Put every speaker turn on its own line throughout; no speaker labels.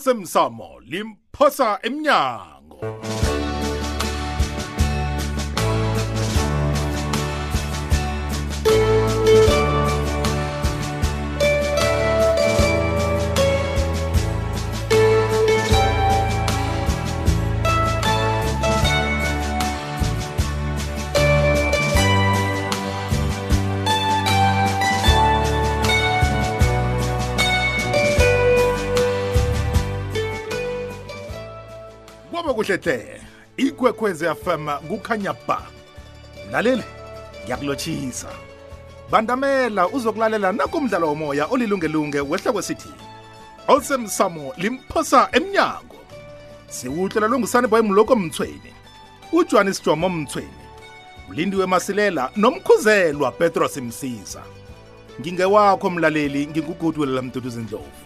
osemsamo limphosa emnyango kwaba kuhle hle ikwekwezi fm kukhanya ba mlaleli ngiyakulotshisa bandamela uzokulalela nakumdlalo womoya olilungelunge wehla kwesithi olsemsamo limphosa emnyango siwuhlelelwe ngusaniboy mloko mthweni ujohanis jomo mthweni ulindiwe masilela nomkhuzelwa petros msiza ngingewakho mlaleli ngingugudwelela mduduzi ndlovu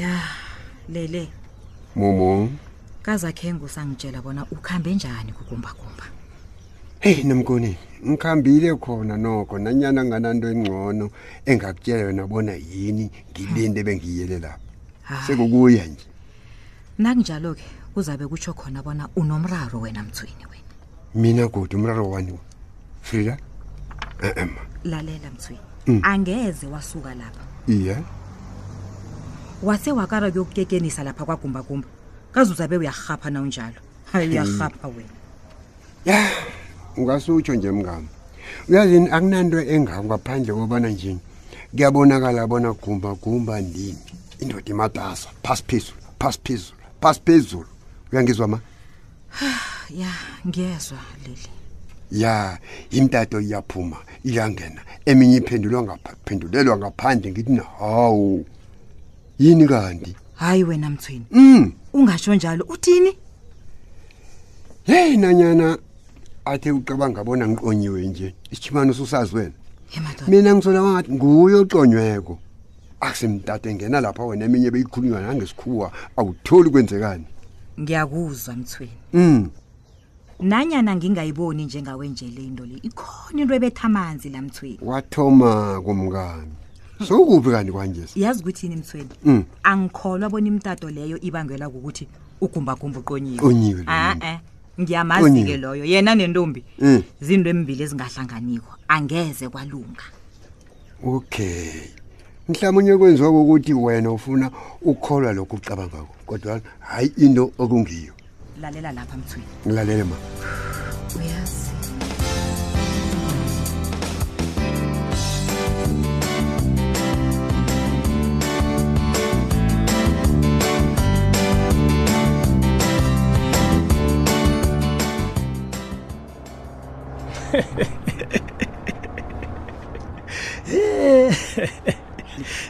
ya lele
momo
kazakhengu sangitshela bona ukhambe njani kukumbakumba
heyi nomkoni ngikhambile khona nokho nanyana ngananto engcono engakutshela yona bona yini ngilinde bengiyele lapha
Ah,
sekukuya nje
nakunjalo-ke kuzabe kutsho khona bona unomraro wena mthweni wena
mina godi umraro wani frida e-ema
lalela mthweni
Mm.
angeze wasuka lapha
iye
wase wakara kuyokukekenisa lapha kwagumbagumba kaze uzabe uyarhapha na unjalo hayi uyarhapha wena
ya ungasutsho nje mngami uyazini akunanto engako ngaphandle kobana nje kuyabonakala bona gumbagumba ndini indoda imatasa phasi phezulu phasi phezulu phasi phezulu uyangizwa ma
ya ngiyezwa leli
ya imtato iyaphuma iyangena eminye iphendulwa ngapha- phendulelwa ngaphandle ngithi na hawu yini kanti
hayi wena mthweni
mm
ungatsho njalo uthini
hey nanyana athe ucabanga bona ngiqonyiwe nje ichimano usasazi wena
emadoda
mina ngisola ngathi nguye oqonyweko akusimtato engena lapha wena eminye beyikhulunywa nangesikhuwa awutholi kwenzekani
ngiyakuzwa mthweni
mm
nanyana ngingayiboni njengawe nje le into le ikhona into ebetha amanzi la mthweni
wathoma kumkani sokuphi kanti kwanje
yazi ukuthini mthweni
Mm.
angikholwa bona imtato leyo ibangela kukuthi ugumbagumba uqonyiwe
Uqonyiwe lo muntu.
a-e ngiyamazi-ke
Uqonyiwe.
loyo yena nentombi
Mm.
zinto embili ezingahlanganiko angeze kwalunga
Okay. Mhlawumnye kwenziwa ukuthi wena ufuna ukholwa lokho ucabanga ngakho. Kodwa hayi into okungiyo.
lalela lapha mthweni
Ngilalele ma.
uyazi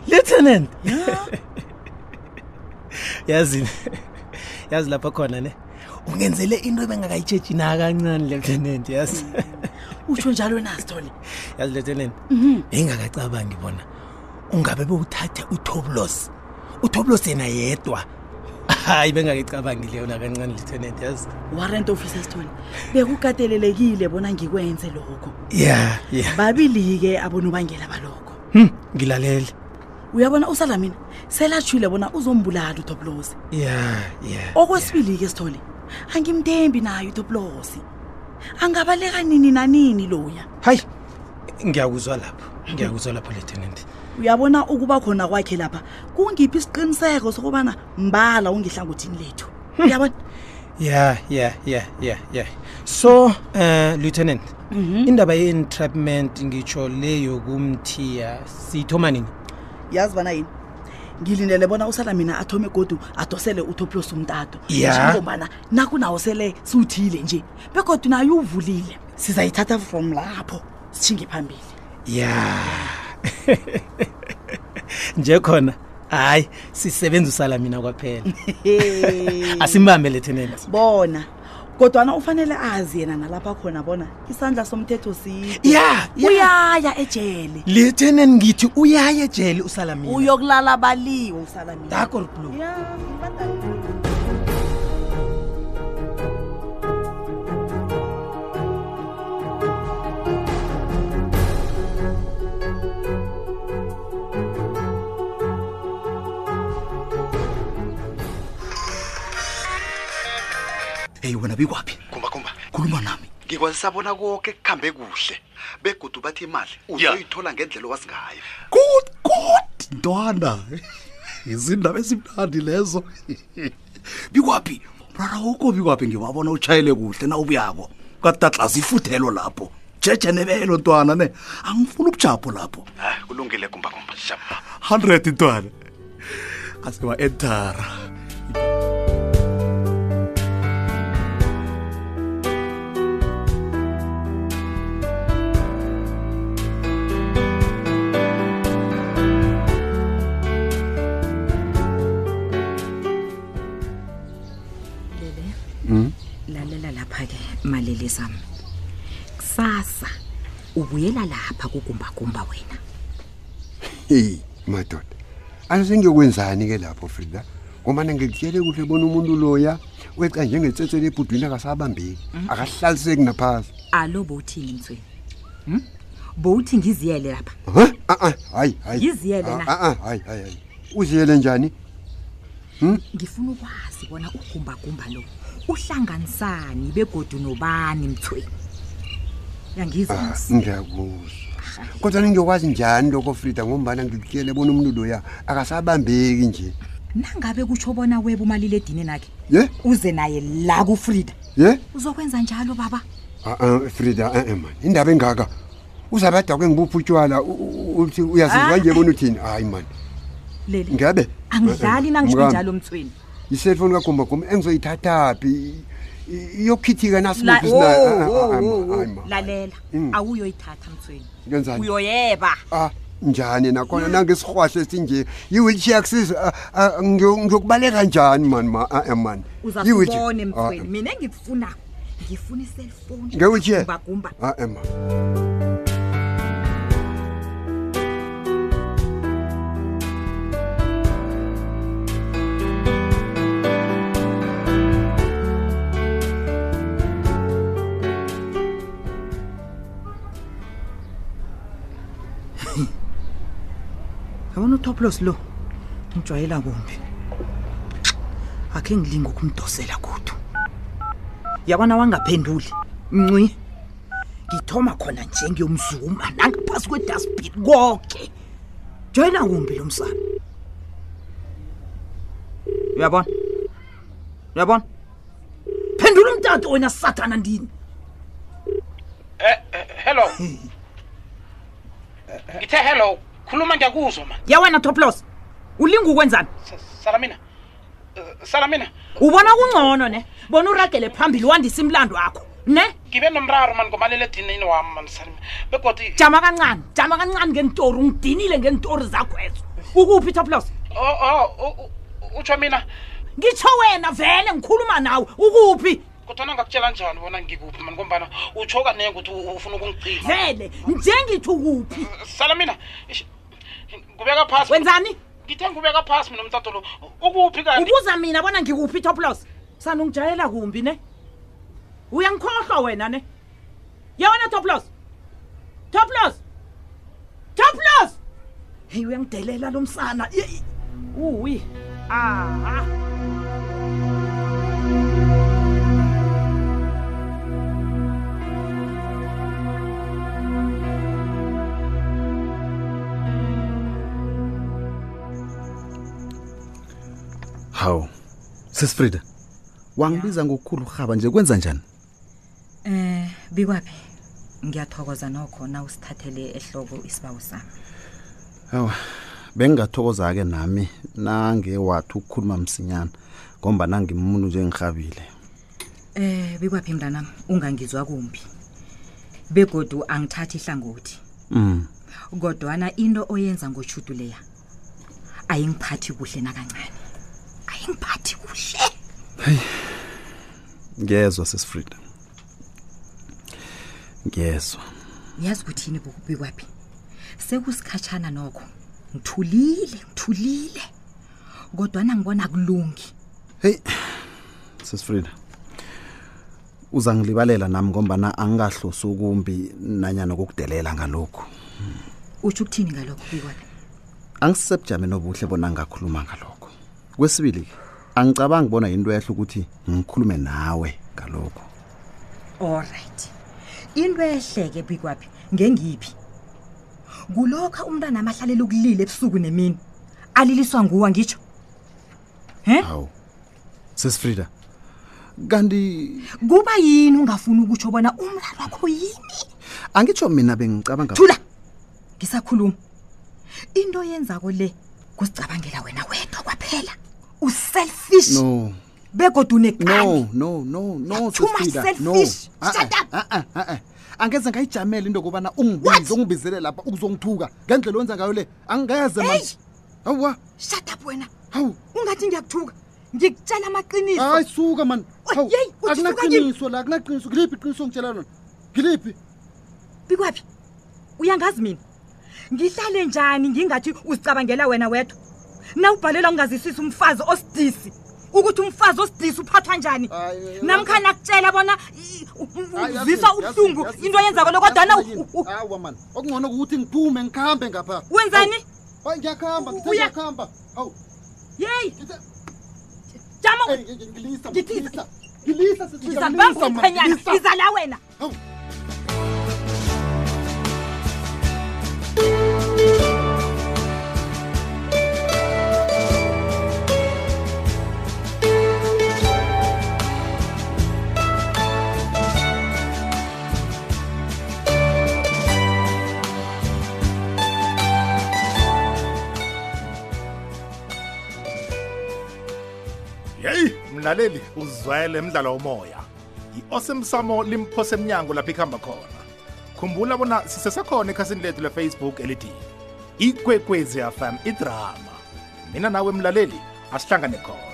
lieutenant yazi yazi lapha khona ne ungenzele into ebengakayitshetshi nakancane lieutenant yazi
utsho njalo nasithole
yazi lieutenant engingakacabangi bona ungabe bewuthathe utoblos utoblos yena yedwa hayi bengakayicabangi leyo nakancane lieutenant yazi
warrant officer sithole bekukatelelekile bona ngikwenze lokho
ya ya
babili-ke abonobangela balokho
hm ngilalele
uyabona usala mina selatshile bona uzombulala utoplosi
ya ya
okwesibili-ke sithole angimthembi naye utoplosi angabaleka nini nanini loya
hayi ngiyakuzwa lapho ngiyakuzwa lapho lieutenant
uyabona ukuba khona kwakhe lapha kungiphi isiqiniseko sokubana mbala ungihlangothini lethu uyabona
ya ya ya ya ya so uh, lieutenant indaba ye-entrapment ngitsho le yokumthiya siyithoma nini
yazi bana yini ngilindele bona usala mina athome godu adosele utoplos umtato
Ya.
njengombana nakunawo sele siwuthile nje begodu naye uvulile sizayithatha from lapho sishinge phambili
ya nje khona hayi sisebenzisala mina kwaphela asimbambe lieutenant
bona kodwana ufanele azi yena nalapha khona bona isandla somthetho side
ya ya
uyaya ejele
lieutenant ngithi uyaye ejele usalamile
uyokulala baliwe usalamile
dakor blue
Ya, badala.
heyi wena bikwaphi
kumbakumba
khuluma nami
ngikwazisa bona koke kuhambe kuhle begudu bathi imali uzoyithola ngendlela owazi ngayo
good good ntwana izindaba ezimnandi lezo bikwaphi mrara woko bikwaphi ngiwabona utshayele kuhle na ubuyako kadatlaza ifuthelo lapho jejenebelo ntwana ne angifuna ubujapho lapho
hayi kulungile kumbakumba shapa
100 ntwana asewa-entara
lele lalela lapha-ke malele zam kusasa ubuyela lapha kugumbagumba wena
heyi madoda asesengiyokwenzaani ke lapho frida ngomana ngikutyele kuhle bona umuntu loya weca njengetsetsele ebhudwini akasabambeki
Mhm.
akahlaliseki naphasi
alo bowuthini mtsweni bowuthi ngiziyele lapha
Huh? Ah, ah, hayi hayi
Yiziyele na.
Ah, ah, ah, hayi hayi hayi uziyele njani
ngifuna ukwazi bona ugumbagumba lo uhlanganisani begodu nobani mthweni
Ah,
yangizwa
ngiyakuzwa kodwa ningiyokwazi njani lokho frida ngombana ngikutyele bona umuntu loya akasabambeki nje
nangabe kutsho bona weba umaliledini nakhe
ye
uze naye la kufrida
ye
uzokwenza njalo baba
Ah, ah, frida e-e mani indaba engaka uzabadakwe ngibuphi utshwala u- u- uthi uyazizwa nje bona uthini hayi mani
lele
ngabe
angidlali
ah, Mngani,
nangishinjalo mthweni
iselfoni kagombagomba engizoyithathaphi iyokhithika
La- Oh,
nasimoto
wo- wo-
ah,
wo- wo. lalela
Mm.
awuyoyithatha mthweni
Ngenzani?
uyoyeba
ah njani nakhona nangesirhwahle sinje i-wheelchair akusiza ngiyokubaleka njani mani ma ah, eh, mani I-wheelchair.
uzasibone
Ah,
mthweni mina engikufuna ngifuna iselfoni
nge-wheelchair
bagumba
ah, eh, ma.
yabona utoplos lo ngijwayela kumbi akhe ngilinga ukumdosela kudu yabona wangaphenduli mncwi ngithoma khona nje ngiyomzuma nangaphasi kwedasbin konke joyela kumbi lo msana uyabona uyabona phendula umtato wena sathana ndini
Eh, hello ngithe hello khuluma ngiyakuzwa man
ya wena toplos ulinga ukwenzani
S- salamina Eh, salamina
ubona kungcono ne bona uragele phambili wandisa imlando wakho ne
ngibe nomraro mani ngomaliledinini wami mani salamina begodi
jama kancane jama kancane ngenitori ungidinile ngenitori zakho ezo ukuphi toplos
oh, oh, u- u- utsho mina
ngitsho wena vele ngikhuluma nawe ukuphi
kodwana ngakutshela njani bona ngikuphi mani ngombana utsho kanenge ukuthi u- ufuna ukungicima
vele njengithi ukuphi
salamina eish, ngubeka phasi
wenzani
ngithe ngubeka phasi mina umtato lo ukuphi kanti
ubuza mina bona ngikuphi toplos sana ungijayela kumbi ne uyangikhohlwa wena ne ya wena toplos toplos toplos heyi uyangidelela lo msana Yeyi. uwi aha
hawu sisifrida wangibiza ngokukhulu rhaba nje kwenza njani
um bikwaphi ngiyathokoza nokho na usithathele ehloko isibawu sami
awa bengingathokoza-ke nami nange wathi ukukhuluma msinyana ngomba nangimuntu nje ngihabile
um bikwaphi mntanam ungangizwa kumbi begodu angithathi ihlangothi
um
kodwana into oyenza ngoshudu leya ayingiphathi kuhle nakancane ayingiphathi kuhle
ngezwa sisifrida ngezwa
yazi ukuthini bukubi kwaphi sekusikhatshana nokho ngithulile ngithulile kodwana ngibona kulungi
heyi sisifrida uza ngilibalela nami ngombana angikahlosi ukumbi nanyana kokudelela ngalokhu
utsho ukuthini ngalokho bikwaphi
angisisebujameni obuhle bona ngakhuluma ngalokho kwesibili-ke angicabangi bona yinto ehle ukuthi ngikhulume nawe ngalokho
allright into ehleke bikwaphi ngengiphi kulokho umntwana amahlalela ukulila ebusuku nemini aliliswa nguwa ngitsho
hawu sesifrida kanti
kuba yini ungafuni ukutsho bona umlalo wakho yini
angitsho mina bengicabanga
thula ngisakhuluma into yenzako le kusicabangela wena wedwa kwaphela uselfish
no
begodwa uneqani
no no no no
Too much
Sesifrida, no.
selfish.
Ah,
Shut
ah, ah, ah, ah. angeze ngayijamela into yokubana ungibize ungibizele lapha ukuzongithuka ngendlela owenza ngayo le angeze
Hey!
manje awuwa
shut up wena
hawu
ungathi ngiyakuthuka ngikutshela amaqiniso
hayi suka mani
Oy,
hawu
yeyi, uthi suka
akunaqiniso la akunaqiniso ngiliphi iqiniso ngitshela lona ngiliphi
bikwaphi uyangazi mina ngihlale njani ngingathi uzicabangela wena wedwa na ubhalelwa ungazisisi umfazi osidisi ukuthi umfazi osidisi uphathwa njani
Hayi, hayi,
namkhani akutshela bona i- u- u- uzwiswa ubuhlungu into yenzako lokodwana u- u-
hawa mani okungcono ukuthi ngiphume ngikhambe ngapha
wenzani
hayi ngiyakuhamba ngithe
Uya-
ngiyakuhamba hawu
yeyi
ngithe-
jama
Ey, ngi- ngi- ngilisa
Ngithi-
ngilisa ngilisa sister,
ngizakubamba
ngilisa, man,
umkhwenyana
ngilisa.
ngizala wena
yeyi mlaleli uzwayele emdlalo womoya i-osemsamo limphose emnyango lapho ikuhamba khona khumbula bona sisesekhona ekhasini lethu lefacebook elithi ikwekwezi fm idrama mina nawe mlaleli asihlangane khona